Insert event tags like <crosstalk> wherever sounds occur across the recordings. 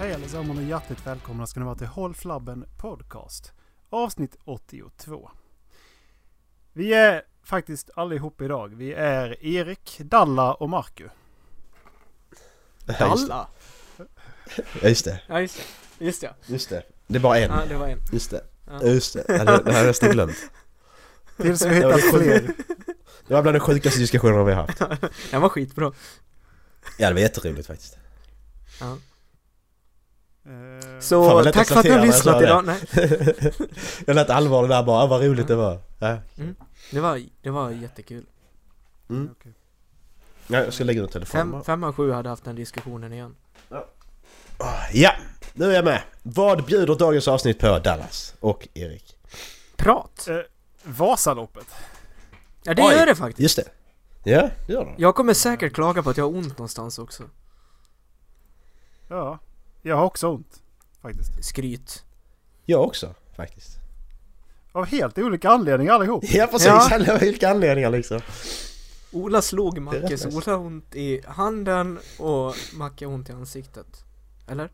Hej allesammans och hjärtligt välkomna ska ni vara till Håll Flabben Podcast. Avsnitt 82. Vi är faktiskt allihop idag. Vi är Erik, Dalla och Marku. Ja, just, Alla? ja, just det, Ja just det, just det. just det. Det är bara en. Ja det var en. Just det. Ja. Ja, Just det. Ja, Det det här har jag nästan <laughs> glömt. Tills <laughs> vi Det var hittar fler. sjukt. Det var bland de sjukaste diskussionerna vi har haft. Den var skitbra. Ja, det var jätteroligt faktiskt. Eh, Fan, vad Så lätt tack att för att ni har sortera, lyssnat jag sa idag. Nej, <laughs> Jag lät allvarlig där bara, ah, vad roligt det var. Ja. det var, det var jättekul. okej. Ja, jag ska lägga ut telefonen Fem, bara. fem av sju hade haft den diskussionen igen. Ja, nu är jag med. Vad bjuder dagens avsnitt på Dallas och Erik? Prat! Eh, Vasaloppet. Ja det Oj. gör det faktiskt. Just det. Ja, det gör de. Jag kommer säkert klaga på att jag har ont någonstans också. Ja, jag har också ont. Faktiskt. Skryt. Jag också, faktiskt. Av helt olika anledningar allihop. Ja, precis. Ja. Alla har olika anledningar liksom. Ola slog är rätt Macke så nice. Ola har ont i handen och Macke har ont i ansiktet. Eller?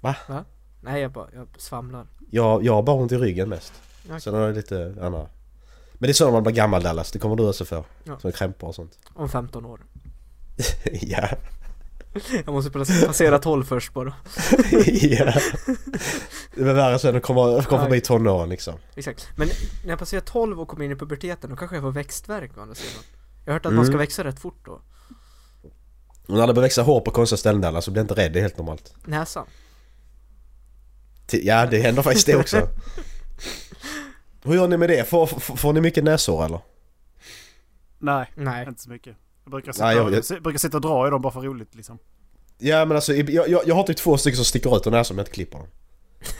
Va? Va? Nej jag bara, jag svamlar. Jag, jag har bara ont i ryggen mest. Okej. Sen har jag lite andra... Men det är så när man blir gammal Dallas, det kommer du också få. Ja. Som krämpor och sånt. <laughs> Om 15 år. ja. <laughs> Jag måste pass- passera 12 först bara. ja. Det var värre sen att komma, komma Ja. förbi tonåren liksom. Exakt, men när jag passerar 12 och kommer in i puberteten då kanske jag får växtvärk å andra sidan Jag har hört att man ska Mm. växa rätt fort då Och när det börjar växa hår på konstiga ställen Dallas, så blir inte rädd, det är helt normalt. Näsan Ti- Ja, det händer faktiskt det <laughs> också. Hur gör ni med det? Får, får, får ni mycket näsår eller? Nej, Nej Mm. inte så mycket. Jag brukar sitta, Nej, jag- jag- jag brukar sitta och dra i dem bara för roligt liksom. Ja men alltså, jag, jag, jag har typ två stycken som sticker ut ur näsan om jag inte klipper dem.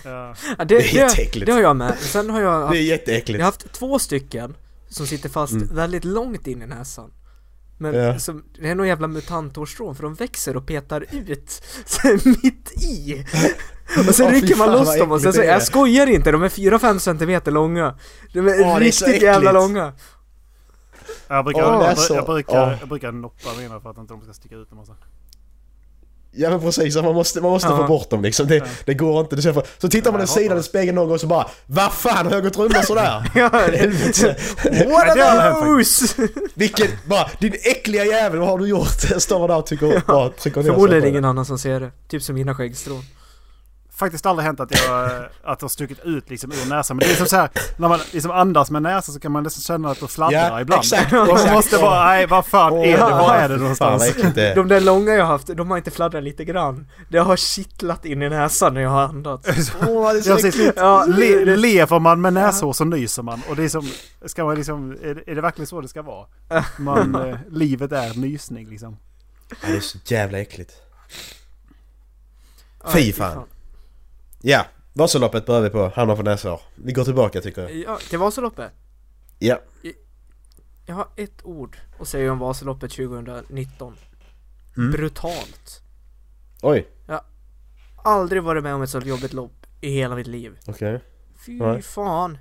Ja. ja, det, Det är det, jätteäckligt. det har jag med, sen har jag Det haft, är jag jätteäckligt. Mm. har haft två stycken som sitter fast väldigt långt in i näsan men Ja. som, det är nog jävla mutanthårstrån för de växer och petar ut <laughs> så mitt i! Och sen Åh, fy rycker man fan, loss vad dem och sen äckligt så, det är. jag skojar inte, de är 4-5 centimeter långa De är Åh, det är så riktigt jävla äckligt. långa Jag brukar, Åh, jag, näsor. bru- jag, brukar, Åh. jag brukar noppa mina för att inte de ska sticka ut en massa. Ja men precis, man måste, man måste Ja. få bort dem liksom. Det, det går inte. Det ser för... Så tittar man i jag sidan hatar i spegeln någon gång så bara Vad fan har jag gått runt sådär? <laughs> Ja, Helvete. What Ja, det har hänt are those? Vilken, bara din äckliga jävel, vad har du gjort? <laughs> Står man där och tycker, bara trycker ner sig Förmodligen på ingen annan som ser det, typ som mina skäggstrån Faktiskt aldrig hänt att jag eh, att det har stuckit ut liksom ur näsan. Men det är som så här, när man liksom andas med näsan så kan man liksom känna att det fladdrar Ja, ibland. <laughs> exakt, Och man exakt. måste bara, nej vad fan Åh, är det? Var är det Fan vad någonstans? <laughs> äckligt det är. De där långa jag har haft, de har inte fladdrat lite grann Det har kittlat in i näsan när jag har andats Åh, det är så Jag äckligt. sitter, Ja, le, det- det- lever man med näshår så nyser man. Och det är som, ska man liksom, är, det- är det verkligen så det ska vara? <laughs> Man, eh, livet är nysning liksom. Ja, det är så jävla äckligt. Ja, Fy fan. Ja, Vasaloppet börjar vi på, hamnar på näsor. Vi går tillbaka tycker jag. Ja, till Vasaloppet Ja. Jag har ett ord att säga om Vasaloppet 2019 Mm. Brutalt Oj, Aldrig varit med om ett så jobbigt lopp i hela mitt liv okej. Fy Nej. fan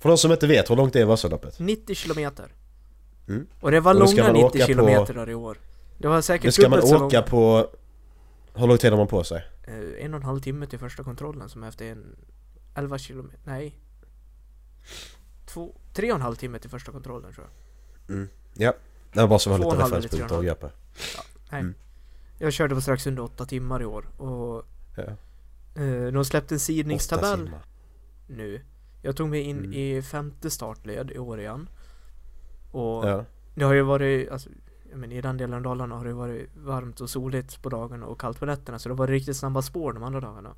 För de som inte vet, hur långt är Vasaloppet? 90 kilometer Mm. Och det var Och då ska långa man 90 åka på- kilometer där i år Det var säkert Det ska man dubbelt så långa. åka på... Hur lång tid har man på sig? eh, en och en halv timme till första kontrollen som är efter en 11 kilometer, nej. Två, tre och en halv timme till första kontrollen tror jag. Ja. Det var bara så man Två har och en lite halv referenspunkt liter, att åka på. Nej. Mm. Jag körde på strax under åtta timmar i år och Ja. eh, de släppte en Åtta sidningstabell timmar. nu. Jag tog mig in Mm. i femte startled i år igen. Och Ja. det har ju varit, alltså, ja, men i den delen av Dalarna har det varit varmt och soligt på dagarna och kallt på nätterna så det var riktigt snabba spår de andra dagarna.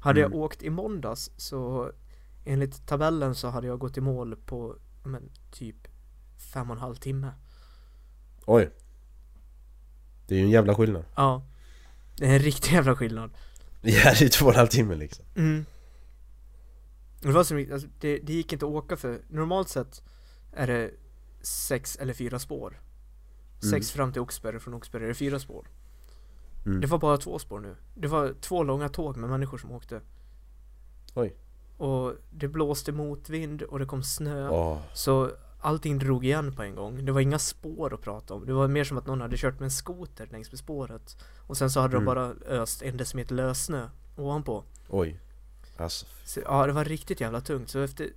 Hade Mm. jag åkt i måndags så enligt tabellen så hade jag gått i mål på ja, men, typ fem och en halv timme. Oj. Det är ju en jävla skillnad. Ja. Det är en riktig jävla skillnad. <laughs> Ja, det är två och en halv timme liksom. Mm. Det, var så, mycket- alltså, det, det gick inte att åka för normalt sett är det sex eller fyra spår. Sex fram till Oxberg och från Oxberg är det fyra spår. Mm. Det var bara två spår nu. Det var två långa tåg med människor som åkte. Oj. Och det blåste motvind och det kom snö. Åh. Så allting drog igen på en gång. Det var inga spår att prata om. Det var mer som att någon hade kört med en skoter längs med spåret. Och sen så hade Mm. de bara öst en decimeter lössnö ovanpå. Oj. Alltså. Så, ja, det var riktigt jävla tungt. Så efter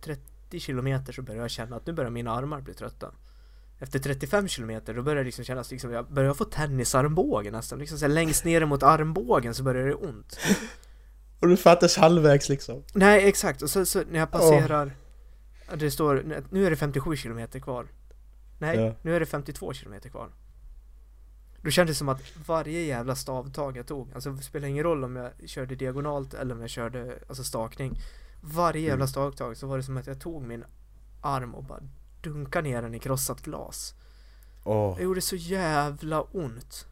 30 kilometer så började jag känna att nu börjar mina armar bli trötta. Efter 35 kilometer då började det liksom kännas liksom, jag började få tennisarmbågen nästan. Liksom så här, längst ner mot armbågen så började det ont. Och du fattas halvvägs liksom. Nej, exakt. Och så, så när jag passerar, det står, nu är det 57 kilometer kvar. Nej, Ja. nu är det 52 kilometer kvar. Då kändes det som att varje jävla stavtag jag tog, alltså det spelar ingen roll om jag körde diagonalt eller om jag körde alltså stakning. Varje jävla Mm. stavtag så var det som att jag tog min arm och bara dunkade ner den i krossat glas. Åh. Det gjorde så jävla ont.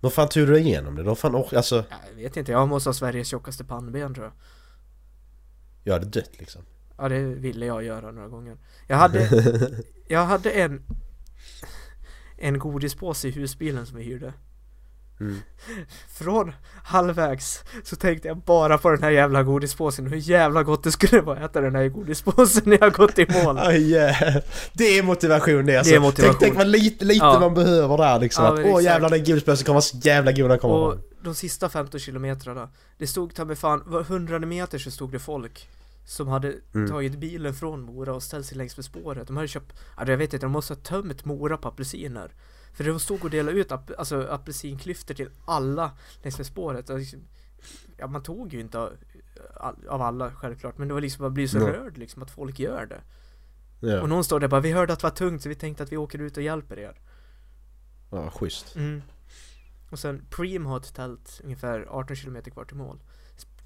Men fan tog du dig igenom det? De fan ork... Alltså, Jag vet inte, jag måste ha Sveriges tjockaste pannben tror jag. jag hade dött liksom. Ja, det ville jag göra några gånger. Jag hade, jag hade en, en godispåse i husbilen som vi hyrde. Mm. <laughs> Från halvvägs så tänkte jag bara på den här jävla godispåsen och hur jävla gott det skulle vara att äta den här godispåsen när jag gått i mål. Aj, yeah. <laughs> Det är motivation det alltså. Det är motivation. Tänk, tänk vad lite, lite Ja. man behöver där liksom. Ja, att, men Åh exakt. jävlar den godispåsen kommer vara så jävla god när den kommer Och fram. de sista 15 kilometrarna, det stod ta mig fan, var hundrade meter så stod det folk som hade Mm. tagit bilen från Mora och ställt sig längs med spåret. De hade köpt, alltså jag vet inte, de måste ha tömt Mora på apelsiner. För de stod och delade ut ap- alltså, apelsinklyftor till alla längs med spåret. Och liksom, ja, man tog ju inte av, av alla självklart, men det var liksom, man blir så Nej. rörd liksom att folk gör det. Och Ja. någon står där bara, vi hörde att det var tungt så vi tänkte att vi åker ut och hjälper er. ja, schysst. Mm. Och sen Preem har ett tält ungefär 18 km kvar till mål.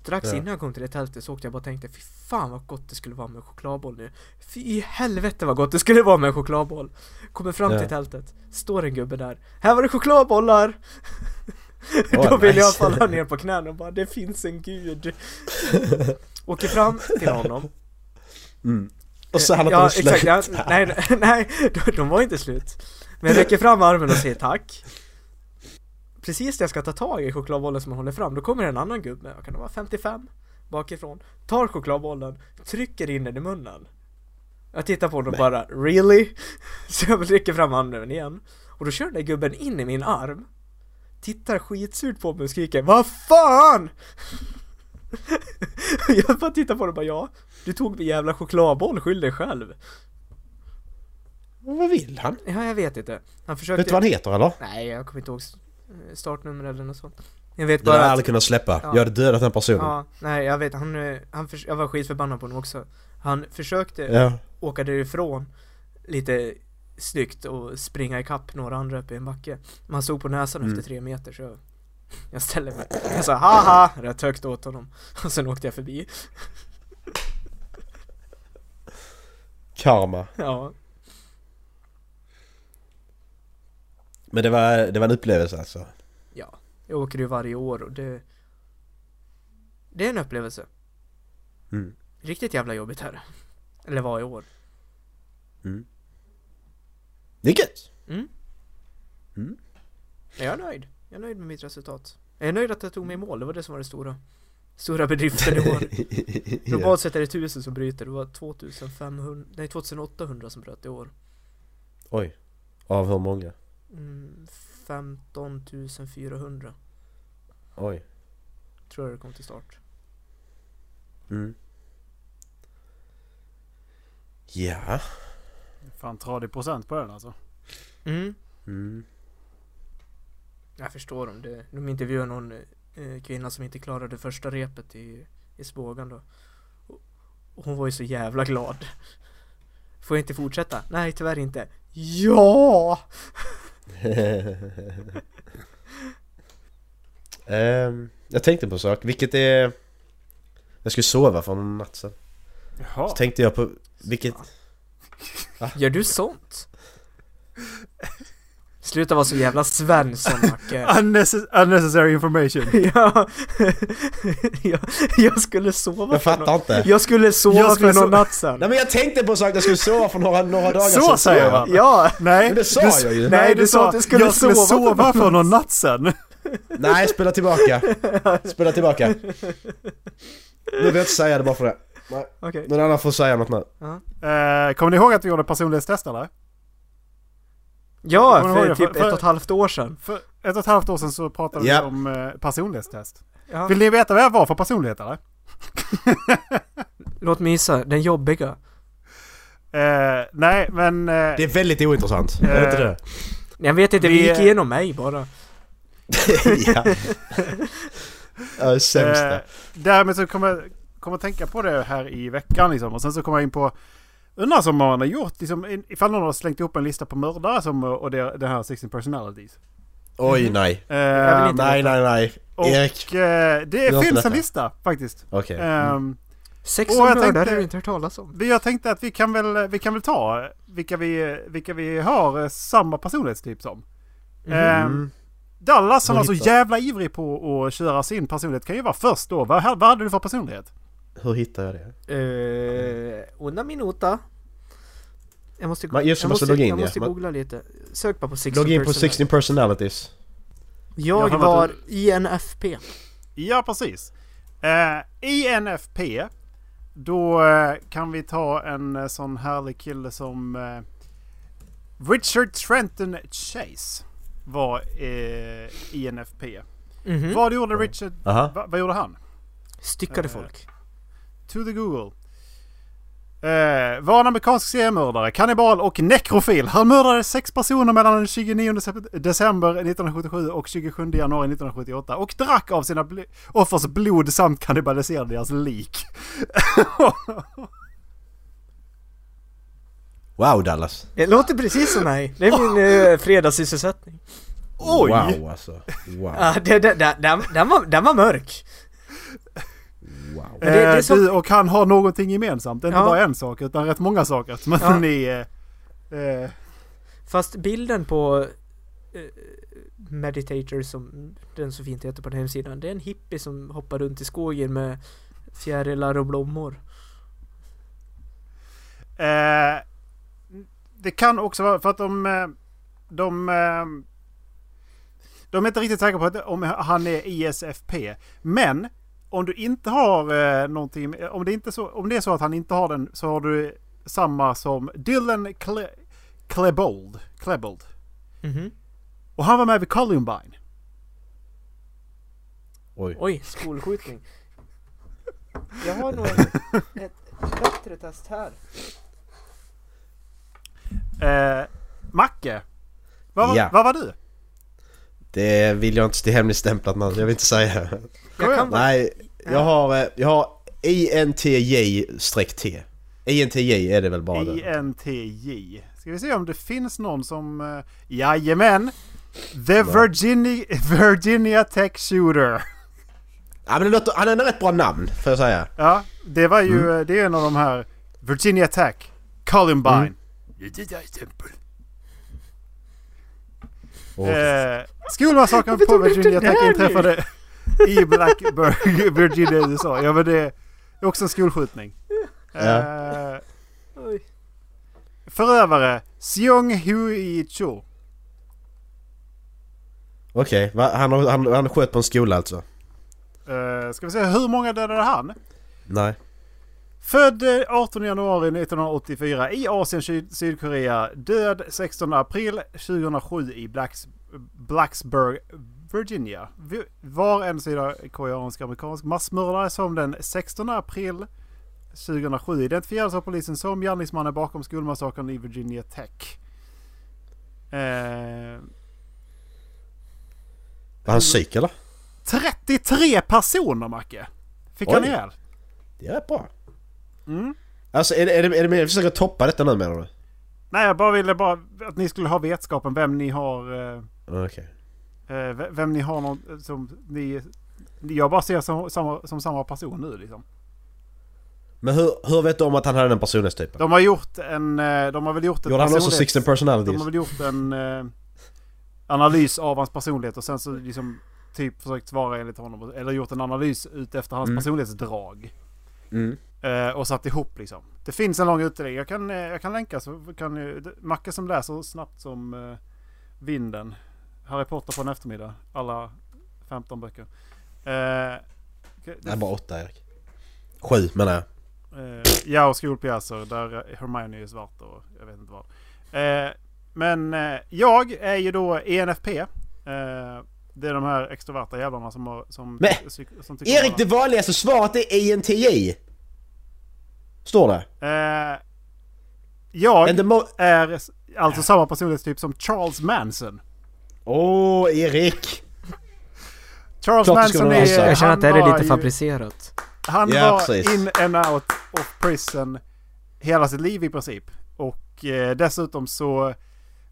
Strax Ja. innan jag kom till det tältet så åkte jag bara och tänkte Fy fan vad gott det skulle vara med en chokladboll nu. Fy i helvete vad gott det skulle vara med en chokladboll. Kommer fram Ja. till tältet, står en gubbe där. Här var det chokladbollar! Åh, <laughs> Då vill jag nice. falla ner på knäna och bara det finns <laughs> en gud. Åker fram till honom. Mm. Och så han att Eh, ja, de slöt. exakt, ja, nej, <laughs> nej, de, de var inte slut. Men jag räcker fram armen och säger tack. Precis när jag ska ta tag i chokladbollen som han håller fram, då kommer en annan gubbe, vad kan det vara 55? Bakifrån. Tar chokladbollen, trycker in den i munnen. Jag tittar på honom och bara really? <laughs> Så jag räcker fram armen igen. Och då kör den där gubben in i min arm. Tittar skitsurt på mig och skriker Vad fan! <laughs> jag bara tittar på honom och bara ja, du tog min jävla chokladboll, skyll dig själv. Vad vill han? Ja, jag vet inte. Han försökte... Vet du vad han heter eller? Nej, jag kommer inte ihåg s- eh, startnummer eller något sånt. Jag vet Det hade jag bara att... aldrig kunnat släppa. Ja. Jag hade dödat den personen. Ja. Ja, nej, jag vet. Han, eh, han förs- jag var skitförbannad på honom också. Han försökte åka därifrån lite snyggt och springa ikapp några andra uppe i en backe. Men han stod på näsan Mm. efter tre meter så jag, jag ställde mig. Jag sa haha rätt högt åt honom. Och sen åkte jag förbi. Karma. Ja, Men det var, det var en upplevelse alltså. ja. Jag åker ju varje år och det... Det är en upplevelse. Mm. Riktigt jävla jobbigt här. Eller var i år. Det är gött. Men jag är nöjd. Jag är nöjd med mitt resultat. Jag är nöjd att jag tog mig i mål, det var det som var det stora. Stora bedriften i <laughs> år. Ja. Normalt sett är det 1000 som bryter, det var 2500, nej 2800 som bröt i år. Oj. Av hur många? Mm, 15 400 Oj. tror jag det kom till start. Mm. Ja. Fan 30 procent på den alltså. Mm. Mm. <laughs> Jag förstår dem, det, de intervjuar någon eh, kvinna som inte klarade första repet i, i spågan då. Och- Och hon var ju så jävla glad. Får jag inte fortsätta? Nej, tyvärr inte. Ja! Ehm, jag tänkte på en sak, vilket är... Jag skulle sova för en natt sen. Jaha. Så tänkte jag på, vilket... Gör du sånt? Sluta vara så jävla svensson <laughs> Macke Unnecess- unnecessary information. ja, jag, jag skulle sova Jag för någon- fattar inte. Jag skulle sova Jag skulle för någon so- natt sen Nej men jag tänkte på en sak, jag skulle sova för några, några dagar Så sen. säger jag. man. Ja! Nej, Men det sa du, jag ju. Nej, du, sa att du skulle, jag skulle sova, någon för någon natt sen. Nej, spela tillbaka. Spela tillbaka. Nu vill jag inte säga det bara för det. Nej. Okej. Någon annan får säga något nu. Ja. <laughs> Eh, kommer ni ihåg att vi gjorde personlighetstest eller? Ja, Kommer du ihåg för det? typ För- ett och ett halvt år sedan. För ett och ett halvt år sedan så pratade Ja. vi om eh, personlighetstest. Ja. Vill ni veta vad jag var för personlighet eller? Låt mig gissa, den jobbiga. Eh, nej, men... eh, Det är väldigt ointressant. Eh. Är det inte det? Jag vet inte, Vi- vi gick igenom mig bara. <laughs> ja. Jag är sämst Eh, där. därmed så kommer jag kommer jag tänka på det här i veckan liksom. Och sen så kommer jag in på... Undrar som man har gjort, liksom, ifall någon har slängt ihop en lista på mördare som, och det, det här 16 personalities. Oj, nej. Eh, Jag vill inte- Nej, nej, nej. och Erik. eh, har det inte finns detta. en lista faktiskt. Okej. Ehm, Sex Åh, och jag mördare tänkte- har du inte hört talas om. vi- jag tänkte att vi kan väl, vi kan väl ta vilka vi, vilka vi har eh, samma personlighetstyp som. Ehm, Mm. Dallas som var Vad så hittar- jävla ivrig på att köra sin personlighet kan ju vara först då. Vad, vad hade du för personlighet? Hur hittar jag det? Eh, una minuta. Jag måste, Man- just det, jag måste måste, logga in, jag ja. måste Man- googla lite. Sök bara på 16 Logga in på personer. 16 personalities. Jag har Jag var varit- INFP. Ja, precis. Eh, INFP. Då eh, kan vi ta en eh, sån härlig kille som eh, Richard Trenton Chase var eh, INFP. Mhm. Vad gjorde Richard? Aha. Va, vad gjorde han? Styckade Eh, folk. To the Google. Eh, var en amerikansk seriemördare, kannibal och nekrofil. Han mördade sex personer mellan den 29 dece- december 1977 och 27 januari 1978 och drack av sina bl- offers blod samt kannibaliserade deras lik. Wow, Dallas. Det låter precis som mig. Det är <laughs> min eh, fredagssysselsättning. Oj! Wow, alltså. Wow. Ja, det, det, det, den, den, var, den var mörk. wow. Men det- det är Eh, som- Du och han har någonting gemensamt. Inte Ja. bara en sak utan rätt många saker. Men Ja. ni... eh, eh, Fast bilden på eh, Meditator som den så fint heter på den här hemsidan. Det är en hippie som hoppar runt i skogen med fjärilar och blommor. Eh, det kan också vara för att de... eh, De, eh, de är inte riktigt säkra på att, om han är ISFP. Men om du inte har eh, någonting... Om det, inte så, om det är så att han inte har den så har du samma som Dylan Cle, Klebold. Klebold. Mhm. Och han var med vid Columbine. Oj. Oj, skolskjutning. Jag har <laughs> nog ett, ett bättre test här. Eh, Macke. Vad, var- Ja. vad var du? Det vill jag inte, det är hemligstämplat nu, jag vill inte säga. Jag kan vara... Nej, jag har, eh, jag har INTJ-T. INTJ är det väl bara det? INTJ. Ska vi se om det finns någon som... Uh, jajamän! The Virginia, Virginia Tech Shooter. Ja men det låter, han har en rätt bra namn får jag säga. Ja, det var ju... eh, Det är en av de här... Virginia Tech. Columbine. Och, Eh, <laughs> Skolmassakern Varför på tog du inte Virginia Tech där nu? inträffade i Blacksburg, <laughs> Virginia, USA. Ja men det är också en skolskjutning. Eh, Oj. förövare, Seong Hui Cho. Okej, va? han, har- han, han sköt på en skola alltså? Eh, ska vi se, hur många dödade han? Nej. Född eh, 18 januari 1984 i Asien, Syd- Sydkorea. Död 16 april 2007 i Blacks, Blacksburg, Virginia. Vi- Var en sydkoreansk-amerikansk massmördare som den 16 april 2007 identifierades av polisen som gärningsmannen bakom skolmassakern i Virginia Tech. Eh, Var han psyk eller? 33 personer Macke! Fick han Oj. ihjäl. Det är rätt bra. Mm. Alltså är det, är det, är det mer, försöker toppa detta nu menar du? Nej jag bara ville bara att ni skulle ha vetskapen vem ni har... Eh, Okej. Eh, v- vem ni har någon som ni... Jag bara ser som samma, som samma person nu liksom. Men hur, hur vet du om att han hade den personlighetstypen? De har gjort en... eh, De har väl gjort ett Gjorde han också personlighets- 16 personalities? De har väl gjort en eh, analys av hans personlighet och sen så liksom typ försökt svara enligt honom. Eller gjort en analys ut efter hans Mm. personlighetsdrag. Mm. Eh, och satt ihop liksom. Det finns en lång utläggning. Jag kan, eh, jag kan länka så kan ju... Macke som läser så snabbt som eh, vinden. Harry Potter på en eftermiddag. Alla 15 böcker. Eh, Nej bara åtta Erik. Sju menar jag. Eh, ja, och skolpjäser där Hermione är svart och jag vet inte vad. Eh, men eh, jag är ju då ENFP. Eh, det är de här extroverta jävlarna som, har, som, Men, som, som tycker om Erik, det vanligaste svaret är ENTJ! Står det? varandra. Eh, jag And the mo- är s- alltså samma personlighetstyp som Charles Manson. Åh, Erik! Charles Klart du ska Manson vara är... så. han Jag Jag känner att det här är var lite ju- fabricerat. Han Ja, var precis. in and out of prison hela sitt liv i princip. Och eh, dessutom så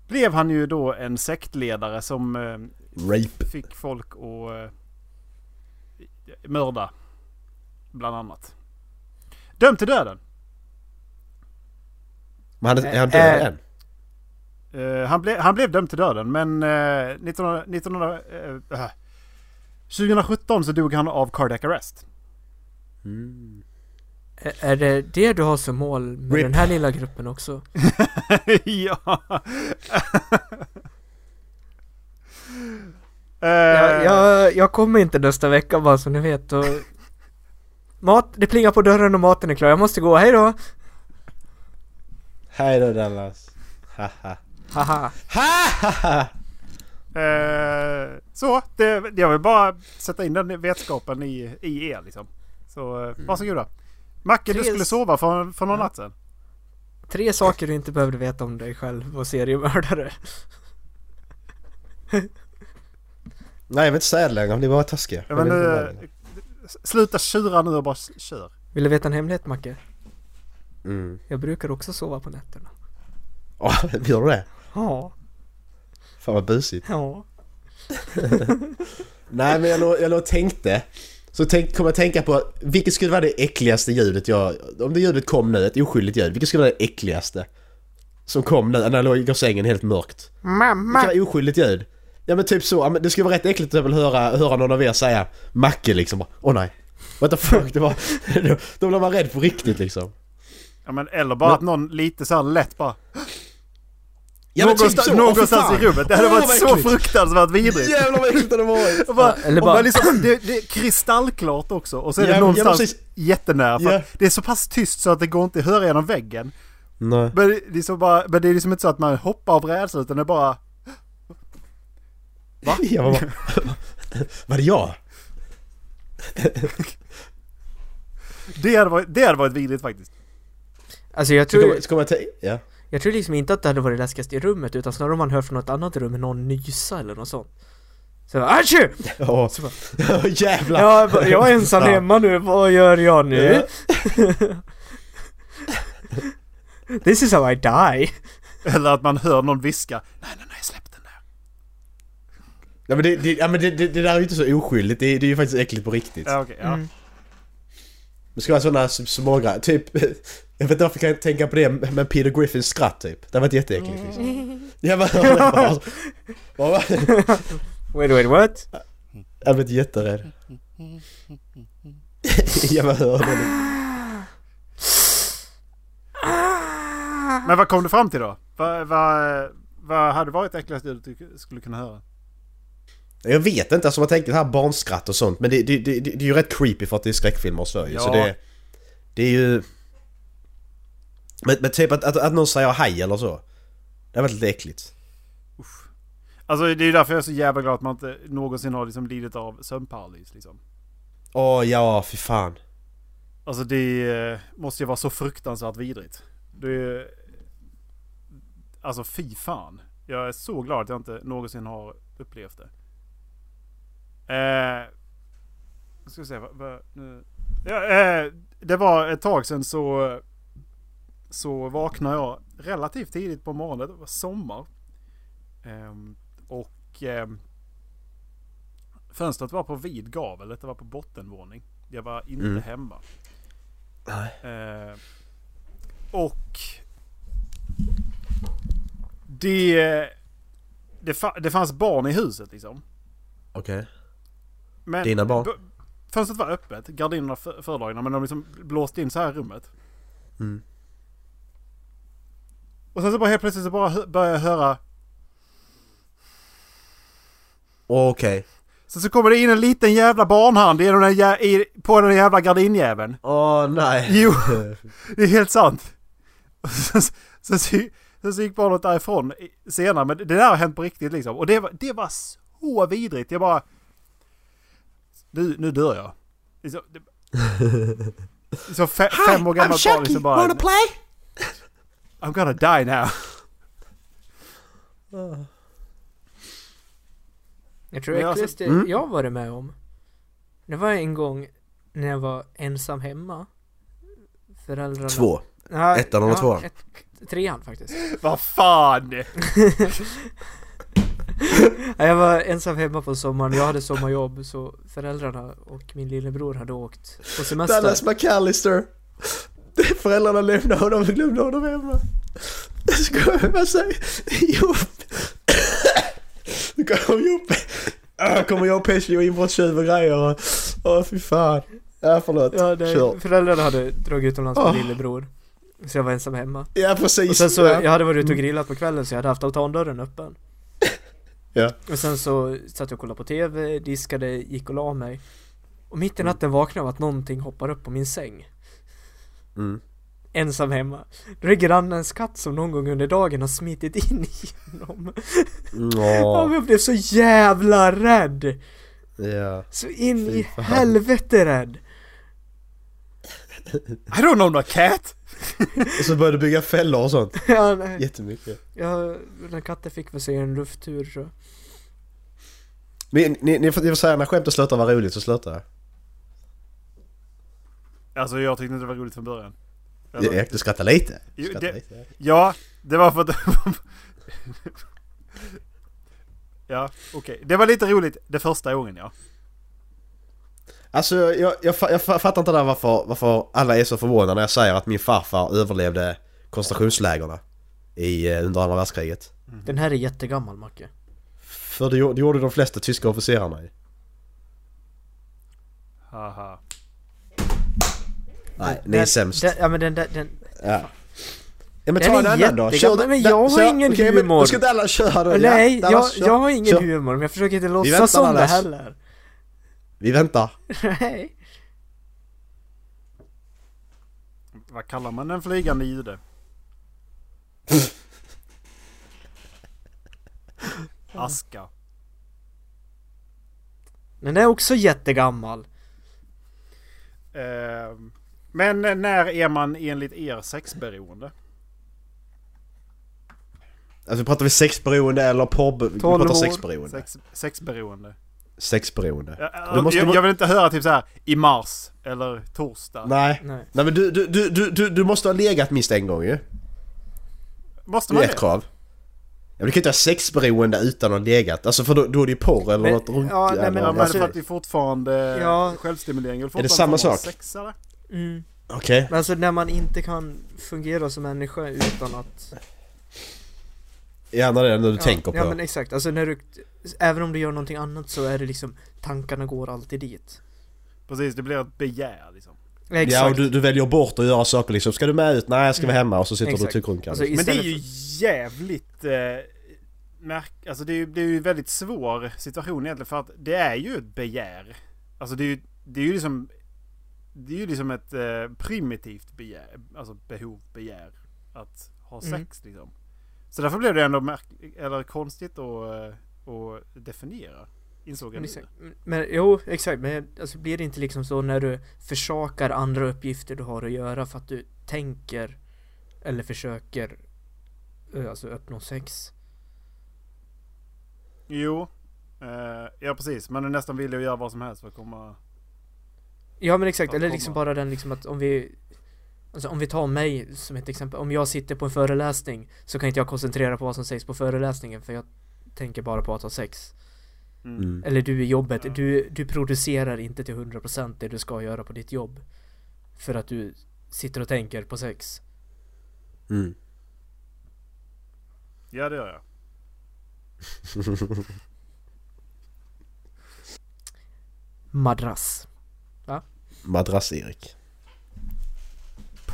blev han ju då en sektledare som eh, Rape. fick folk att eh, mörda. Bland annat. Dömd till döden. Men han, är han Eh, död eh. än? Eh, han, ble, han blev dömd till döden men eh, 1900, 1900, eh, äh, 2017 så dog han av cardiac arrest. Mm. Ä- Är det det du har som mål med Rip. den här lilla gruppen också? <laughs> ja. Eh, Jag, jag, jag kommer inte nästa vecka bara som ni <laughs> vet och... Mat, det plingar på dörren och maten är klar, jag måste gå, hej då! Hej då Dallas. Haha. Haha! Haha! Eh, så, det, jag vill bara sätta in den vetskapen i, i er liksom. Så Mm. eh, varsågoda. Macke, du Tre- skulle sova för, för någon Ja. natt sedan. Tre saker du inte behövde veta om dig själv och seriemördare. Nej jag vill inte säga det längre, om ni bara är taskiga. Jag Jag men, vill inte eh, vara längre. s- sluta tjura nu och bara s- kör. Vill du veta en hemlighet Macke? Mm. Jag brukar också sova på nätterna. Åh, <laughs> gör du det? Ja, Fan vad busigt. ja. Nej men jag låg, jag låg och tänkte. Så tänk, kom jag att tänka på vilket skulle vara det äckligaste ljudet jag... Om det ljudet kom nu, ett oskyldigt ljud, vilket skulle vara det äckligaste? Som kom nu, när jag låg i sängen helt mörkt. Mamma! Vilket var oskyldigt ljud? Ja men typ så, ja, men det skulle vara rätt äckligt att väl höra, höra någon av er säga Macke liksom bara, åh nej. What the fuck, det var... <laughs> då, då blev man rädd på riktigt liksom. Ja, men, eller bara Men- att någon lite så här lätt bara... Ja, men någonstans typ så, åh, någonstans för i fan. rummet. Det hade Åh, varit vad så äckligt. fruktansvärt vidrigt. Jävlar vad äckligt det hade varit! Och bara, Ja, eller och bara- bara liksom, det, <clears throat> det är kristallklart också och så är det Ja, men- ja, någonstans precis. jättenära. För Ja. att det är så pass tyst så att det går inte att höra genom väggen. Nej. Men det, är så bara, men det är liksom inte så att man hoppar av rädsla utan det är bara... Va? Jag var bara, var det jag? Det hade varit, det hade varit vidrigt faktiskt. <laughs> Alltså jag Så tror, kommer, så kommer jag tänka, ja. jag tror liksom inte att det hade varit läskigast i rummet utan snarare om man hör från något annat rum någon nysa eller något sånt. Så jag bara, "Atchoo!" Ja, Så bara, <laughs> jävlar! Ja, jag bara, jag är ensam hemma nu, vad gör jag nu? This is how I die. Eller att man hör någon viska. Nej, nej, nej, släpp den där. Ja men, det, det, ja, men det, det, det där är ju inte så oskyldigt, det, det är ju faktiskt äckligt på riktigt. Ja, okej. ja. Mm. Det ska vara sådana s- små grejer, typ... <laughs> Jag vet inte varför jag kan tänka på det, men Peter Griffins skratt typ. Det var inte jätteäckligt liksom. Jag bara, <laughs> jag bara, bara, Wait, wait, what? jag blev jätterädd. <laughs> Jag bara hörde det. Men vad kom du fram till då? Vad, vad, vad hade varit det äckligaste ljudet du skulle kunna höra? Jag vet inte, alltså man tänker det här barnskratt och sånt, men det, det, det, det är ju rätt creepy för att det är skräckfilmer och så ju. Så Ja. det, det är ju... Men, men typ att, att, att någon säger hej eller så. Det har varit lite äckligt. Alltså det är ju därför jag är så jävla glad att man inte någonsin har liksom lidit av sömnparalys liksom. Åh ja, fy fan. Alltså det eh, måste ju vara så fruktansvärt vidrigt. Det är... Alltså fy fan. Jag är så glad att jag inte någonsin har upplevt det. Eh, nu ska vi se. Vad, vad, nu. Ja, eh, det var ett tag sedan så, så vaknade jag relativt tidigt på morgonen. Det var sommar. Ehm, och ehm, fönstret var på vid gavel. Det var på bottenvåning. Jag var inte Mm. hemma. Nej. Eh, och det, det, fa- det fanns barn i huset liksom. Okej. Men Dina barn? b- Fönstret var öppet, gardinerna för- fördragna men de liksom blåste in så här i rummet. Mm. Och sen så bara helt plötsligt så bara hö- började jag höra Okej. Sen så kommer det in en liten jävla barnhand genom den jä- i, på den jävla <laughs> gardinjäveln. Åh nej. <laughs> Jo, det är helt sant. <laughs> Och Sen, sen, så- sen så gick barnet därifrån i- senare, men det där har hänt på riktigt liksom. Och det var, det var så vidrigt. Jag bara... Nu, nu dör jag. Liksom, det- Så fe, fem år gammalt barn liksom bara... play? I'm gonna die now. <laughs> Jag tror Men det alltså- äckligaste Mm. jag varit med om Det var en gång när jag var ensam hemma Föräldrarna Två. Nej, Ettan eller tvåan? ett- trean faktiskt <laughs> Vad fan! Nej, Jag var ensam hemma på sommaren, jag hade sommarjobb så föräldrarna och min lillebror hade åkt på semester Dallas McAllister. <laughs> Föräldrarna lämnade honom och glömde honom hemma. Jag skojar, vad säger Jo. Nu kommer Joppe. Ah, Kommer jag och Pesci och inbrottstjuv och grejer och... Åh fy fan. Ja förlåt. Ja, nej, Kör. Ah. föräldrarna hade dragit utomlands med Åh. lillebror Så jag var ensam hemma Ja precis. Och sen så, ja. Mm. jag hade varit ute och grillat på kvällen så jag hade haft altandörren öppen Ja. Och sen så satt jag och kollade på TV, diskade, gick och la mig Och mitt i natten vaknade jag av att någonting hoppar upp på min säng Mm. Ensam hemma Då är det grannens katt som någon gång under dagen har smitit in genom Ja men Ja. jag blev så jävla rädd! Ja. Så in Fy i fan. helvete rädd! <laughs> I don't know no cat! Och så började du bygga fällor och sånt. ja, nej. Jättemycket. Ja, den här katten fick väl sig en lufttur tror Mhm. jag Men ni, ni, får, ni får säga när skämtet slutar vara roligt så slutar jag. Alltså jag tyckte inte det var roligt från början. Eller? Jag, jag du skrattar lite. Du Jo, Skrattar det- lite. Ja, det var för att... <laughs> ja, okej. Det var lite roligt det första gången ja. Alltså jag, jag, fa- jag fa- fattar inte där varför, varför alla är så förvånade när jag säger att min farfar överlevde koncentrationslägren i, eh, under andra världskriget. Den här är jättegammal Macke För det, gjo- det gjorde de flesta tyska officerarna ju. Haha. Nej, ni är Den- sämst. den, Ja men den där, den ja. ja men Den ta är en annan då. jättegammal, den- men den- jag har så- ingen okej, men humor. Då ska inte alla köra då. Nej, ja, jag, Dallas, kör. jag har ingen Kör. humor men jag försöker inte väntar, låtsas om det Dallas. heller <laughs> Vi väntar. Nej Vad kallar man en flygande jude? Aska. Den är också jättegammal Ehm, men när är man enligt er sexberoende? Alltså pratar vi sexberoende eller porr... Vi Tolv pratar år. sexberoende. Sex, sexberoende. Sexberoende. Jag, Då måste jag, man- jag vill inte höra typ så här i mars eller torsdag. Nej. Nej Nej men du, du, du, du, du, du måste ha legat minst en gång ju. Måste Det man är ett det? krav. Ja, men du kan inte ha sexberoende utan att ha legat. Alltså för då, då är det ju porr eller Men- något runt ja, nej, jävla- men Ja, men Alltså- för att det är fortfarande Ja. självstimulering. Är det samma sak? Sex, eller? mm. Okej. Men alltså när man inte kan fungera som människa utan att Ja, när det är när du ja, tänker på. Ja men exakt, alltså när du Även om du gör någonting annat så är det liksom Tankarna går alltid dit Precis, det blir ett begär liksom. Exakt Mm. ja, och du, du väljer bort att göra saker liksom. Ska du med ut? Nej, jag ska vara hemma. Och så sitter du och Exakt. tyckrunkar. Alltså, Liksom. Men det är Istället ju jävligt... Eh, märk- alltså det är ju det är ju en väldigt svår situation egentligen för att det är ju ett begär. Alltså det är ju, det är ju liksom... Det är ju liksom ett eh, primitivt begär, alltså behov, begär. Att ha sex Mm. liksom. Så därför blev det ändå märk- eller konstigt att, eh, att definiera. Insåg jag Men, nu. exakt. men jo, exakt. Men alltså, blir det inte liksom så när du försakar andra uppgifter du har att göra för att du tänker eller försöker eh, alltså uppnå sex? Jo. Eh, ja precis, man är nästan villig att göra vad som helst för att komma... Ja men exakt, Att eller komma. liksom bara den liksom att om vi Alltså om vi tar mig som ett exempel, om jag sitter på en föreläsning så kan inte jag koncentrera på vad som sägs på föreläsningen för jag tänker bara på att ha sex. Mm. Mm. Eller du i jobbet, Ja. du, du producerar inte till 100% det du ska göra på ditt jobb. För att du sitter och tänker på sex. Mm. Ja det gör jag. madrass. Madrass-Erik.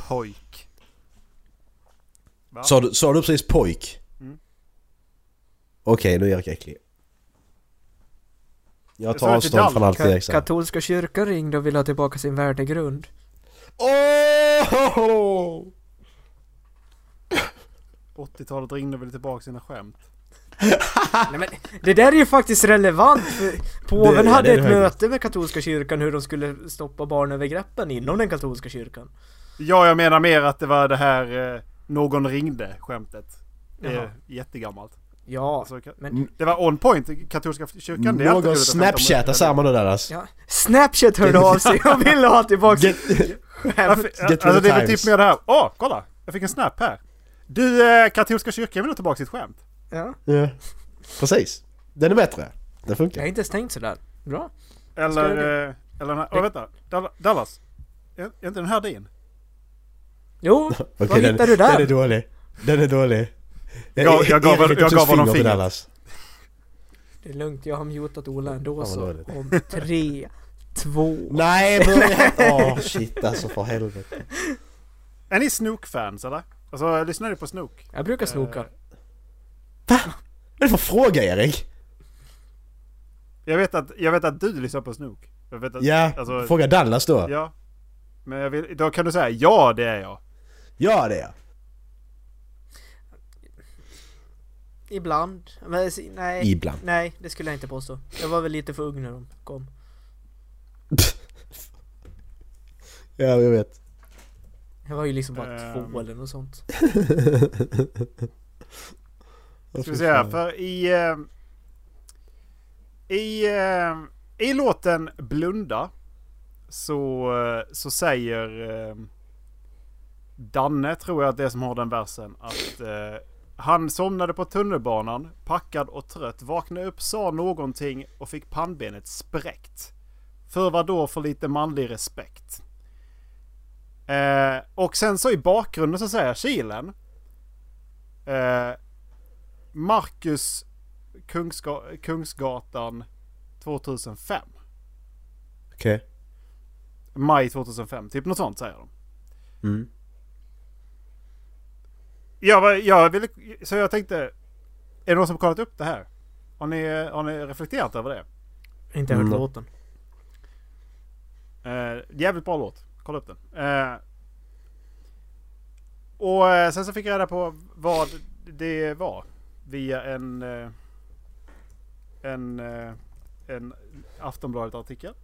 Pojk. Va? Sa du, sa du precis pojk? Mm. Okej, nu är Erik äcklig. Jag Så är tar det avstånd från Dallas. allt det Ka- exakt. katolska kyrkan ringde och ville ha tillbaka sin värdegrund. Åh! 80-talet ringde och ville tillbaka sina skämt. Ah! Nej, men det där är ju faktiskt relevant för Det- ja, påven det hade är det ett faktiskt. möte med katolska kyrkan hur de skulle stoppa barnövergreppen inom den katolska kyrkan. Ja, jag menar mer att det var det här eh, någon ringde skämtet. Det Jaha. är jättegammalt. Ja, Alltså, ka- Mm. men... det var on point, katolska kyrkan. Det är alltid roligt Någon att skämta om snapchatar det. samman det där alltså. Ja. Snapchat hörde av sig och ville ha tillbaka Get, skämt. Varför- Get with Alltså the det är väl times. typ mer det här. Åh, kolla! Jag fick en snap här. Du, eh, katolska kyrkan vill ha tillbaka sitt skämt. Ja. <laughs> ja. Precis. Den är bättre. Den Jag funkar. har inte ens tänkt sådär. Bra. Eller, Ska eh, eller den här. Åh, vänta. Dall- Dallas. Är är inte den här din? <laughs> Jo, vad den, hittar du där? den är dålig. Den är dålig. Jag- jag gav- Erik jag tog gav honom till fingret. Dallas. Det är lugnt, jag har mutat Ola ändå vad så. dåligt. Om tre, två... Nej, <laughs> börja... Åh shit alltså för helvete. Är ni Snook-fans eller? Alltså lyssnar ni på Snook? Jag brukar snoka. Vad är det för fråga Erik? Jag vet att, jag vet att du lyssnar på Snook. Jag vet att, Ja, alltså, fråga Dallas då. Ja, ja. Men jag vill, då kan du säga ja det är jag. det är jag. Ibland. Men s- nej. Ibland. Nej, det skulle jag inte påstå. Jag var väl lite för ung när de kom. Ja, jag vet. Jag var ju liksom bara Ehm. två eller något sånt. Ska vi se här, för i... eh, I, eh, i låten Blunda så, eh, så säger eh, Danne, tror jag att det är som har den versen, att eh, han somnade på tunnelbanan, packad och trött, vaknade upp, sa någonting och fick pannbenet spräckt. För vad då för lite manlig respekt? Eh, och sen så i bakgrunden så säger Kilen eh, Marcus Kungsga- Kungsgatan 2005. Okej. Maj 2005, typ något sånt säger de. Mm. Jag, var, jag ville, så jag tänkte, är det någon som kollat upp det här? Har ni, har ni reflekterat över det? Inte hört Mm. låten. Eh, jävligt bra låt, kolla upp den. Eh, och eh, sen så fick jag reda på vad det var via en, eh, en, eh, en Aftonbladet-artikel.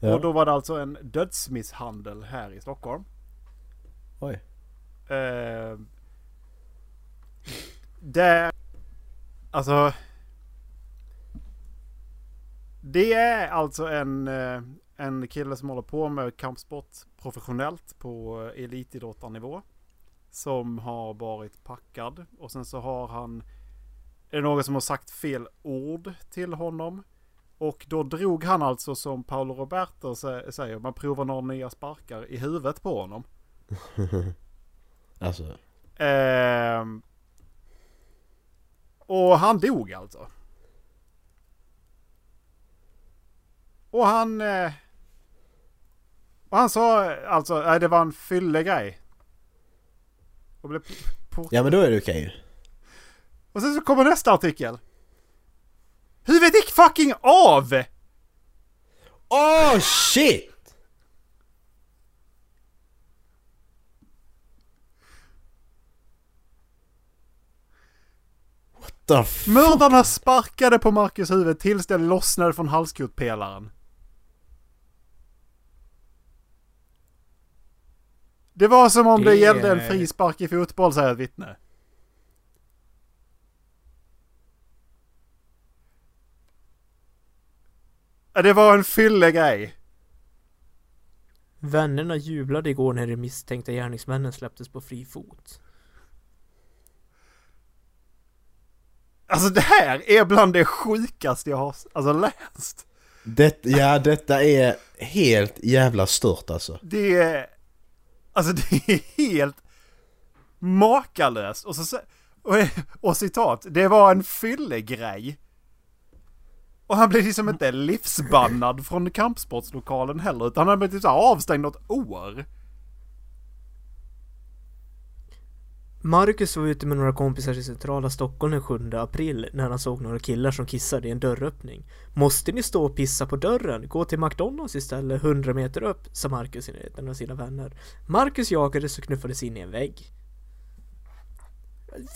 Ja. Och då var det alltså en dödsmisshandel här i Stockholm. Oj. Eh, där... Alltså... Det är alltså en, eh, en kille som håller på med kampsport professionellt på eh, elitidrottarnivå. Som har varit packad och sen så har han... Är det någon som har sagt fel ord till honom? Och då drog han alltså som Paolo Roberto sä- säger, man provar några nya sparkar i huvudet på honom. Alltså. Ehm. och han dog alltså. Och han... Eh, och han sa eh, alltså, nej det var en fyllegrej. Och, blev på, Ja men då är det okej ju. och sen så kommer nästa artikel. Huvudet gick fucking av! Åh oh, shit! What the f... Mördarna sparkade på Marcus huvud tills det lossnade från halskotpelaren. Det var som om det, Det gällde en är- frispark i fotboll, säger ett vittne. Ja, Det var en fyllegrej. Vännerna jublade igår när de misstänkta gärningsmännen släpptes på fri fot. Alltså det här är bland det sjukaste jag har alltså, läst. Det, ja detta är helt jävla stört alltså. Det är... Alltså det är helt makalöst. Och, så, sä- och, och citat, det var en fyllegrej. Och han blev liksom inte livsbannad från kampsportslokalen heller, utan han blev typ så här avstängd något år. Marcus var ute med några kompisar i centrala Stockholm den 7 april när han såg några killar som kissade i en dörröppning. Måste ni stå och pissa på dörren? Gå till McDonalds istället 100 meter upp, sa Marcus i närheten av sina vänner. Marcus jagades och knuffades in i en vägg.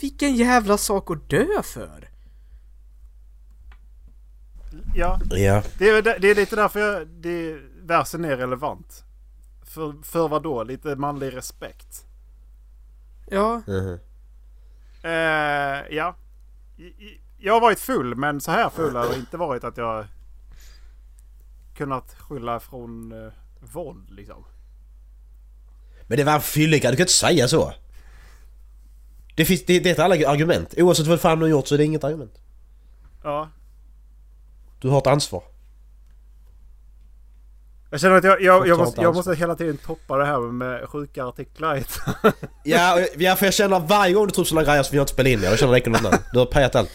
Vilken jävla sak att dö för! Ja, Ja. det är, det är lite därför jag, det, versen är relevant. För, för vad då? Lite manlig respekt. Ja, Mhm. Eh, ja. I- i- Jag har varit full, men så här full har det inte varit att jag kunnat skylla från eh, våld liksom. Men det var en fyllega, du kan inte säga så. Det, finns, det, det är ett alla argument. Oavsett vad fan du har gjort så är det inget argument. Ja. Du har ett ansvar. Jag känner att jag, jag, jag, Totalt måste, jag ansvar. måste hela tiden toppa det här med sjuka artiklar. <laughs> Ja, och jag- ja för jag känner varje gång du tror sådana grejer så vill jag inte spela in det. Jag känner det räcker något annat. Du har pajat allt.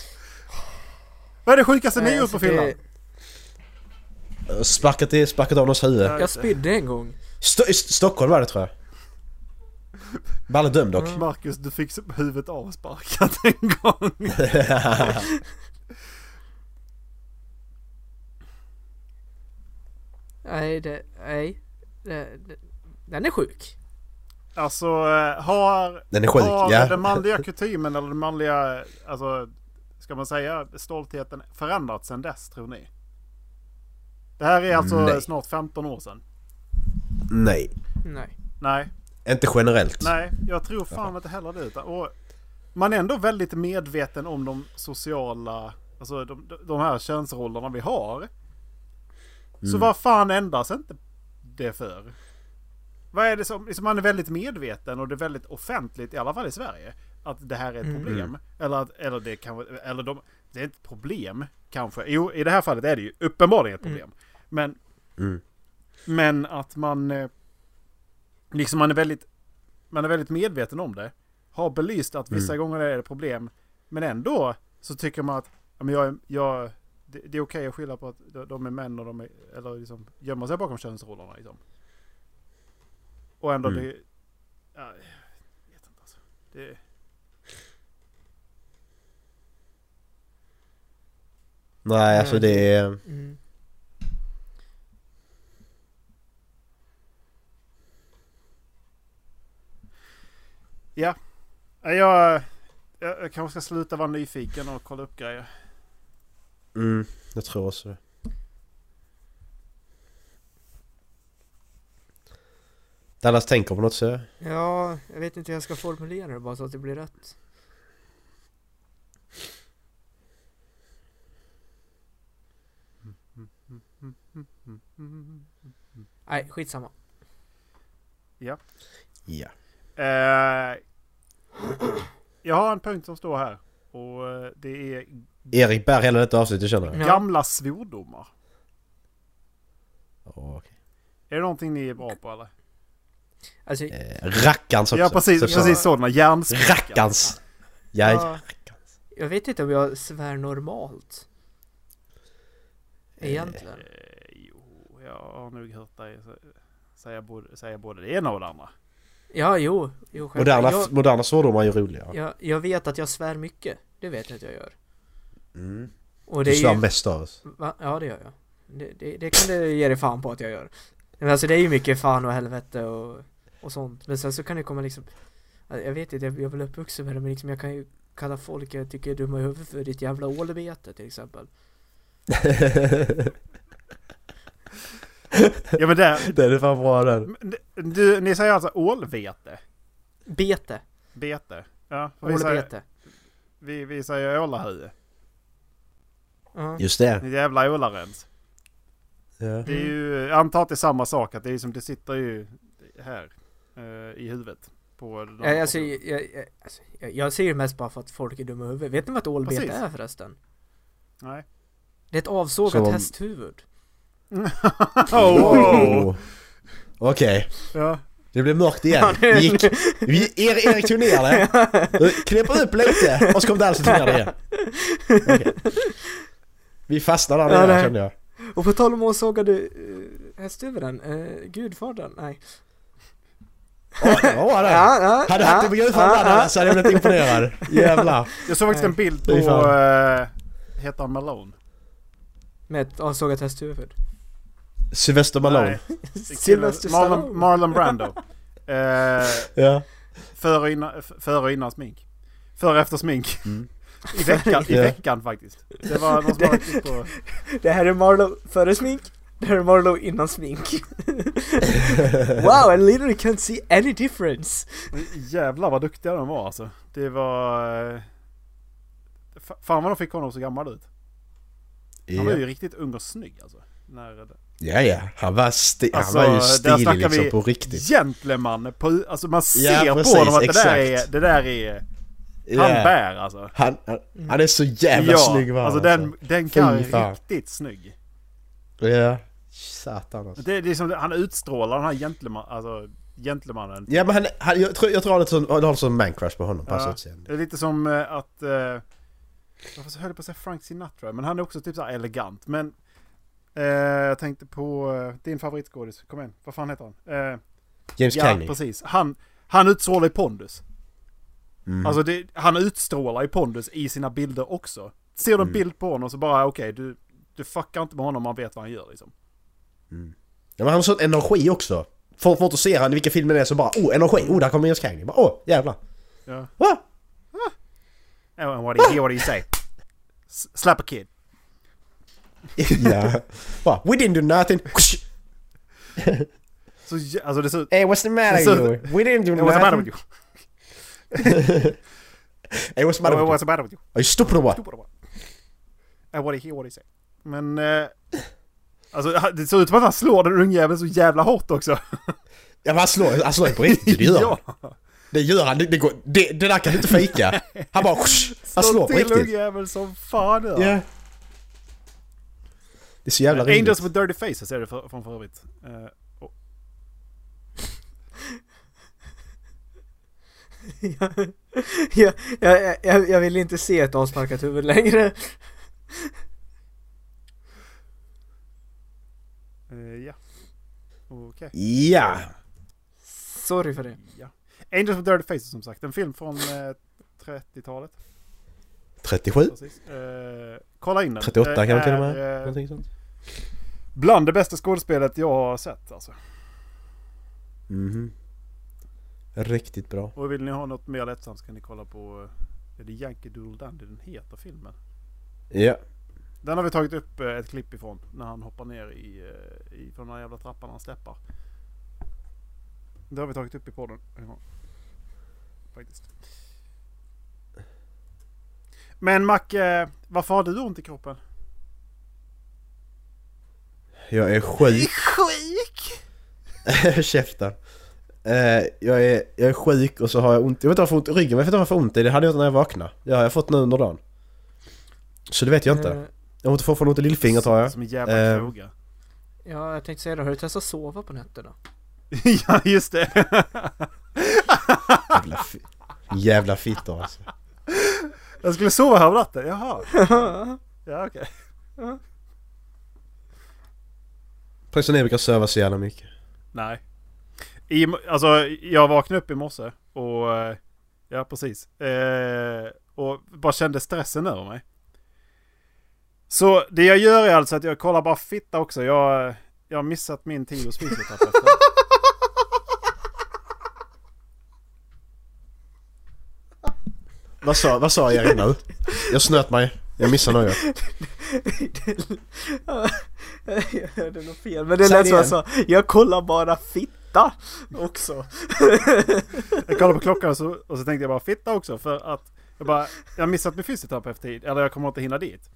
vad är det sjukaste ni Nej, gjort alltså på Finland? det- Och Sparkat, i- sparkat av någons huvud. Ja, Jag just det. spydde en gång. Sto- i St- Stockholm var det tror jag. Balle dömd dock. Marcus, du fick huvudet avsparkat <laughs> en gång. Nej, det, nej. Det, det, den är sjuk. Alltså, eh, har, Den är sjuk, har ja. den manliga kutymen eller den manliga, alltså, ska man säga, stoltheten förändrats sedan dess, tror ni? Det här är alltså Nej. snart 15 år sedan. Nej. Nej. Nej, Inte generellt. nej, jag tror fan inte heller det. Utan, och man är ändå väldigt medveten om de sociala, alltså de, de- de här könsrollerna vi har. Så vad fan ändras inte det för? Vad är det som, liksom man är väldigt medveten och det är väldigt offentligt, i alla fall i Sverige, att det här är ett problem. Eller, att, eller det kan vara- eller de, det är inte ett problem kanske. Jo, i det här fallet är det ju uppenbarligen ett problem. Men, Mm. men att man, eh, liksom man är väldigt, man är väldigt medveten om det. Har belyst att vissa gånger är det problem, men ändå så tycker man att, ja, men jag, är- jag det, det är okej att skylla på att de- de är män och de är, eller liksom gömma sig bakom könsrollerna liksom. Och ändå Mm. det... Ja, jag vet inte alltså. Det... Nej, alltså det är... Mm. Ja. Ja, Jag, jag, jag kanske ska sluta vara nyfiken och kolla upp grejer. Mm, jag tror också det. Dallas tänker på något så. Ja, jag vet inte hur jag ska formulera det bara så att det blir rätt. Nej, skitsamma. Ja. Eh, jag har en punkt som står här. Och eh, det är Erik bär hela detta avsnittet känner jag. Ja. gamla svordomar. Oh, okay. Är det någonting ni är bra på eller? Alltså, eh, rackarns också. Ja precis, Så- så- precis sådana. Hjärnspikar. Rackarns! Ja, Ja. rackarns. jag vet inte om jag svär normalt. Egentligen. Eh, jo, jag har nog hört dig sä- säga både, säga både det ena och det andra. Ja, jo. jo självklart. Moderna, jag, moderna svordomar är ju roliga. jag, jag vet att jag svär mycket. Det vet jag att jag gör. Mm. Och det Du är svär ju... mest av oss. Va? Ja, det gör jag. Det, det, det kan du ge dig fan på att jag gör. Men alltså det är ju mycket fan och helvete och, och sånt. Men sen så kan det komma liksom... Jag vet inte, jag jag är väl uppvuxen med det men liksom jag kan ju kalla folk jag tycker är dumma i huvudet för ditt jävla ålbete till exempel. Ja men där, Den är fan bra den. Men det- Du, ni säger alltså ålvete? Bete. Bete? Ja, och vi, säger, Ålbete. vi, vi säger ålahue. Ja. Just det. Ni jävla ålarens. Ja. Det är ju, jag antar att det är samma sak, att det, är liksom, det sitter ju här eh, i huvudet. På den Ja, alltså, jag, jag, jag- alltså, jag, jag ser ju mest bara för att folk är dumma i huvudet. Vet ni vad ett ålbete Precis. är förresten? Nej. <laughs> Det är ett avsågat Som- hästhuvud. Oh! Oh. Okej, Ja. det blev mörkt igen. Ja, nu- Det <laughs> gick. Vi, er, Erik tog ner det. Du knäpper upp lite och så kom dansen ner det igen. Okej. Vi fastnade där Ja, nere det- kände jag. Och eh, på tal om avsågade uh, hästhuvuden, eh, gudfadern, nej. Ja, det var det. Ja, ja, Hade ja, han inte på ja, julframbranden ja. ja, så hade jag blivit imponerad. Jävlar. Jag såg faktiskt en bild på... Fy eh, Heter han Malone? Med ett avsågat hästhuvud. Sylvester <laughs> Malone. Nej, det är killen- Sylvester Stallone. Marlon, Marlon Brando. Eh, Ja. före, och innan, f- före och innan smink. Före och efter smink. Mm. I, veckan, I Ja. veckan faktiskt. Det var någon som hade klippt <laughs> på... Det här är Marlow före smink. Det här är Marlow innan smink. <laughs> wow, I literally can't see any difference. <laughs> Jävlar vad duktiga de var alltså. Det var... eh, fa- Fan vad de fick honom så gammal ut. Han var ju riktigt ung och snygg alltså. När, Ja, ja. Han var, sti- Alltså, han var ju där snackar stilig liksom vi- på riktigt. Gentleman på... Alltså man ser Ja, på precis, honom att det där är... exakt. Det där är... Han Ja. bär alltså. Han, han, han är så jävla snygg var han, alltså den, den kan Fy fan. riktigt snygg. alltså. Ja. Satan alltså. Det, det är som, han utstrålar den här gentleman, alltså, gentlemannen. Ja men han, han, jag, tror, jag tror han har ett sånt- han har ett sånt man-crush på honom på hans Ja. utseende. Det är lite som eh, att... Eh, jag höll på att säga Frank Sinatra, men han är också typ så här elegant. Men eh, jag tänkte på eh, din favoritskådis, kom igen, vad fan heter han? Eh, James ja, Cagney. precis. Han, han utstrålar ju pondus. Mm. Alltså det, han utstrålar ju pondus i sina bilder också. Ser Mm. du en bild på honom så bara okej, du, du fuckar inte med honom, man vet vad han gör liksom. Ja, men han har sån energi också. Folk får inte se han i vilka filmer det är så bara oh energi, oh där kommer James Cagney. Bara, Åh jävlar. Ja. Va? Oh, and what do you hear, what do you say? S- slap a kid. ja. Va? We didn't do nothing. Så, jä- alltså det ser ut... Hey what's the matter Så- with you? We didn't do What's the matter with nothing. you? Hey what's the matter Oh, with you? What's the matter with you? Are you stupid or what? Stora bara. And what do you hear, what do you say? Men... Eh, alltså han- det ser ut som att han slår den ungjäveln så jävla hårt också. Ja men han slår, han slår ju på riktigt, det <laughs> gör han. <laughs> ja, Det gör han, det, det, går, det, det där kan du inte fejka. Han bara <laughs> han slår på till riktigt. ungjäveln som fan gör han. Ja. Det är så jävla roligt. Angels with dirty faces är det för, från för övrigt. Eh, och- jag, jag, jag, jag, jag vill inte se ett avsparkat huvud längre. eh, ja. Okej. Ja. Sorry för det. Ja. Angels with dirty faces som sagt. En film från eh, 30-talet. 37? Precis. Eh, kolla in den. 38 Det kanske till och är, med? eh, Någonting sånt. Bland det bästa skådespelet jag har sett alltså. Mhm. Riktigt bra. Och vill ni ha något mer lättsamt så kan ni kolla på... eh, Är det Yankee Doodle Dandy den heter filmen? Ja. Den har vi tagit upp eh, ett klipp ifrån. När han hoppar ner i, eh, i från den här jävla trappan han släpar. Det har vi tagit upp i podden. en gång. Faktiskt. Men Mac, eh, varför har du ont i kroppen? Jag är sjuk. Sjuk! <laughs> Käften. Eh, jag, är, jag är sjuk och så har jag ont. Jag vet inte varför jag har ont i ryggen, men jag vet inte varför jag har ont i. Det hade jag inte när jag vaknade. Det har jag fått nu under dagen. Så det vet jag inte. Eh, Jag har inte fortfarande ont i lillfingret har jag. Som en jävla Eh. fråga. ja, jag tänkte säga det. Har du testat sova på nätterna? <laughs> ja, just det. Jävla, fi- jävla fittor alltså. Jag skulle sova här om natten, <laughs> jaha. Ja, okej. Prinsen Erik brukar söva så jävla mycket. Nej. I, alltså, jag vaknade upp i morse och... eh, Ja, precis. Eh, och bara kände stressen över mig. Så det jag gör är alltså att jag kollar bara fitta också. Jag, jag har missat min tid hos fysioterapeuten. Vad sa, vad sa jag nu? Jag snöt mig. Jag missade något. <laughs> jag hörde något fel, men det Säg lät det som jag igen. sa. Jag kollar bara fitta också. Jag kollade på klockan och så, och så tänkte jag bara fitta också för att jag bara... Jag har missat min fysioterapeuttid. Eller jag kommer inte hinna dit.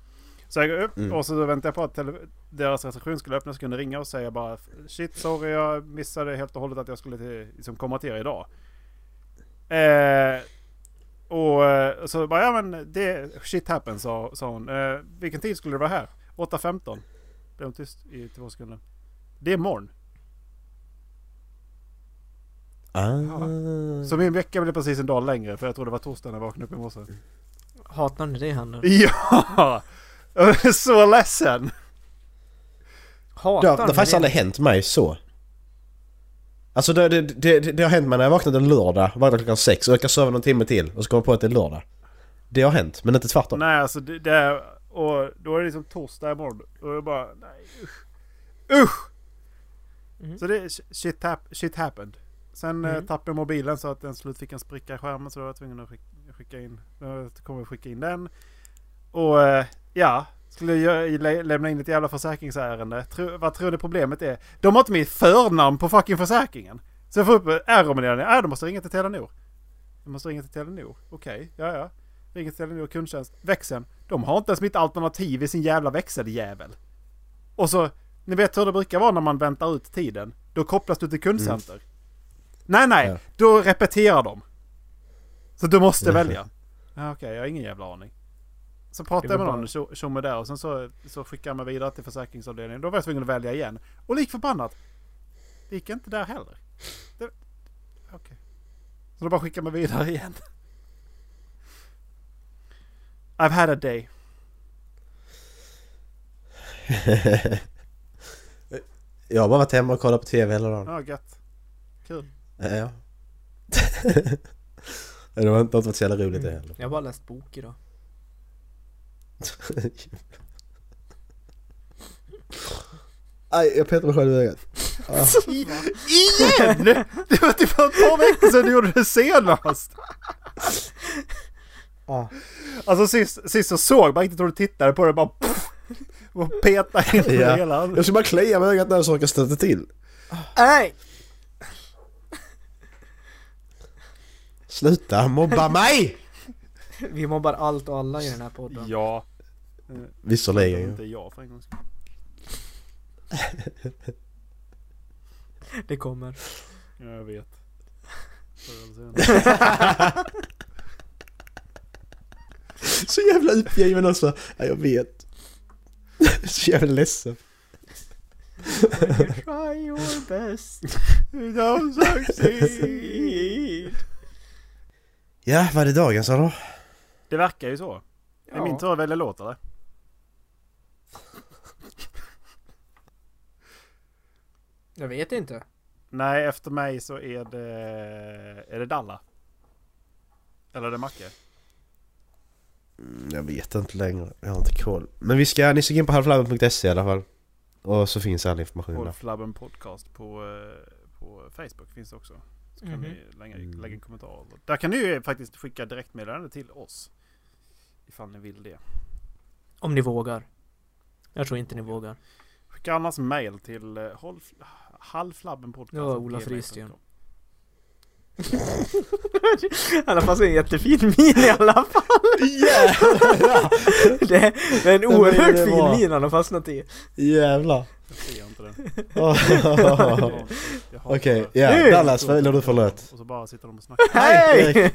Så jag går upp Mm. och så väntar jag på att tele- deras reception skulle öppnas. Kunde ringa och säga bara shit sorry jag missade helt och hållet att jag skulle till, liksom, komma till er idag. Eh, och eh, så bara ja men det shit happens sa, sa hon. Eh, vilken tid skulle det vara här? 8.15. Blev hon tyst i två sekunder. Det är morgon. Ah. Så min vecka blev precis en dag längre för jag tror det var torsdag när jag vaknade upp i morse. Hatar ni det händer? Ja! Jag är så ledsen! Det Hatar har, det har faktiskt ni aldrig hänt mig så. Alltså det, det, det, det har hänt mig när jag vaknade en lördag, vaknade klockan sex och jag kan sova någon timme till och så kommer jag på att det är lördag. Det har hänt, men inte tvärtom. Nej, alltså det, det är, och då är det liksom torsdag imorgon. Och jag bara, nej usch. Usch! Mhm. Så det, shit, hap, shit happened. Sen eh, Mhm. tappade jag mobilen så att den slut fick en spricka i skärmen så då var jag tvungen att skicka, skicka in. Då kommer jag skicka in den. Och eh, ja, skulle jag ju lä- lämna in ett jävla försäkringsärende. Tro, vad tror du problemet är? De har inte mitt förnamn på fucking försäkringen. Så jag får upp R-meddelanden. Äh, de måste ringa till Telenor. De måste ringa till Telenor. Okej, ja ja. Ringer till Telenor kundtjänst. Växeln. De har inte ens mitt alternativ i sin jävla växeljävel. Och så, ni vet hur det brukar vara när man väntar ut tiden. Då kopplas du till kundcenter. Nej, nej. Ja. Då repeterar de. Så du måste välja. Ja, Okej, jag har ingen jävla aning. Så pratade Det jag var med någon tjo- tjomme där och sen så, så skickade jag mig vidare till försäkringsavdelningen. Då var jag tvungen att välja igen. Och lik förbannat. Det gick inte där heller. Det... Okej. Så då bara skickade jag mig vidare igen. I've had a day. <laughs> Jag har bara varit hemma och kollat på TV hela dagen. Ja, gött. Kul. Ja. <laughs> ja. det har inte varit så jävla roligt det heller. Jag har bara läst bok idag. Aj, jag petar mig själv i ögat. <laughs> I, igen! Det var typ för ett par veckor sedan du gjorde det senast. Ja. Alltså sist, sist så såg man inte hur du tittade på det bara pff, och petade in Ja. det hela. Jag ska bara klia mig i ögat när saker stöter till. Nej! Sluta mobba mig! Vi mobbar allt och alla i den här podden. Ja. Visserligen ju. Inte jag för en gångs skull. Det kommer. Ja, jag vet. Förr eller senare. Så jävla uppgiven alltså. Ja, jag vet. <laughs> Så jävla ledsen. Try your best. Don't succeed. <laughs> Ja, vad är dagens då? Det verkar ju så. Det är min tur att välja låt eller? Jag vet inte. Nej, efter mig så är det... Är det Dalla? Eller är det Macke? Mm, Jag vet inte längre. Jag har inte koll. Men vi ska, ni ska gå in på halvflabben.se i alla fall. Och så finns all information där. Wolflabben Podcast på, eh, på Facebook finns det också. Så kan Mhm. ni lägga, Mm. lägga en kommentar. Där kan ni ju faktiskt skicka direktmeddelande till oss. Ifall ni vill det. Om ni vågar. Jag tror inte ni vågar. Skicka annars mail till eh, holf- halvflabbenpodcast. Ja, Ola Fristen. Han har fast en jättefin min i alla fall. <laughs> Det är en men oerhört det är fin bra. min han har fastnat i. <laughs> Jävlar. Jag ser inte <laughs> den. Åh. Jag hatar Okej, det. ja. Nu! Dallas, vad vill du för låt? Och så bara sitter de och snackar. Hej! Hej,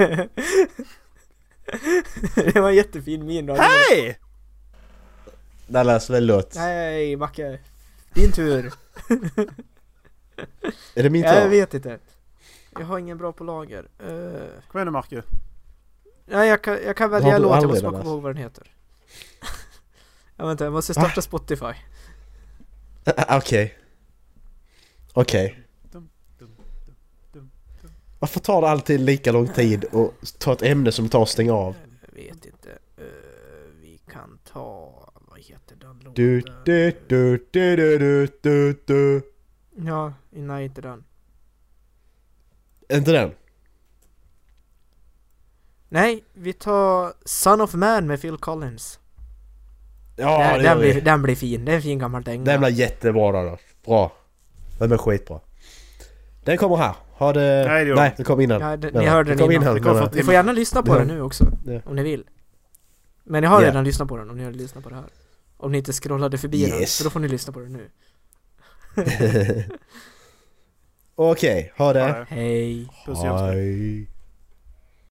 <laughs> Det var en jättefin min då. Hej! Dallas, vad vill du låt? Hej Macke! Din tur! Är det min Jag tur? vet inte. Jag har ingen bra på lager. Eh, Kom igen nu Marcus. nej, jag kan, jag kan Har välja du en låt, jag aldrig måste den, bara komma alltså? ihåg vad den heter. <laughs> ja, vänta, jag måste starta Spotify. <laughs> Okej. Okej. Varför tar det alltid lika lång tid att ta ett ämne som tar och stänga av? Jag vet inte. Eh, vi kan ta... Vad heter den låten? Du, du, du, du, du, du, du, du. Ja, nej inte den. Inte den? Nej, vi tar Son of Man med Phil Collins. Ja, den, det gör den, vi. blir, den blir fin, det är en fin gammal dänga. Den blir jättebra då. då. Bra. Den blir skitbra. Den kommer här. Har det... Nej, det gör Nej, den. den kom innan. Ja, det- Den ni här. hörde den kom innan. Det kom menar jag. från- Ni får gärna lyssna på Ja. den nu också, Ja. om ni vill. Men jag har Ja. redan lyssnat på den om ni har lyssnat på det här. Om ni inte scrollade förbi den, Yes. så då får ni lyssna på den nu. <laughs> Okej, ha det. Hej. Hej! Puss i ansiktet. Hej.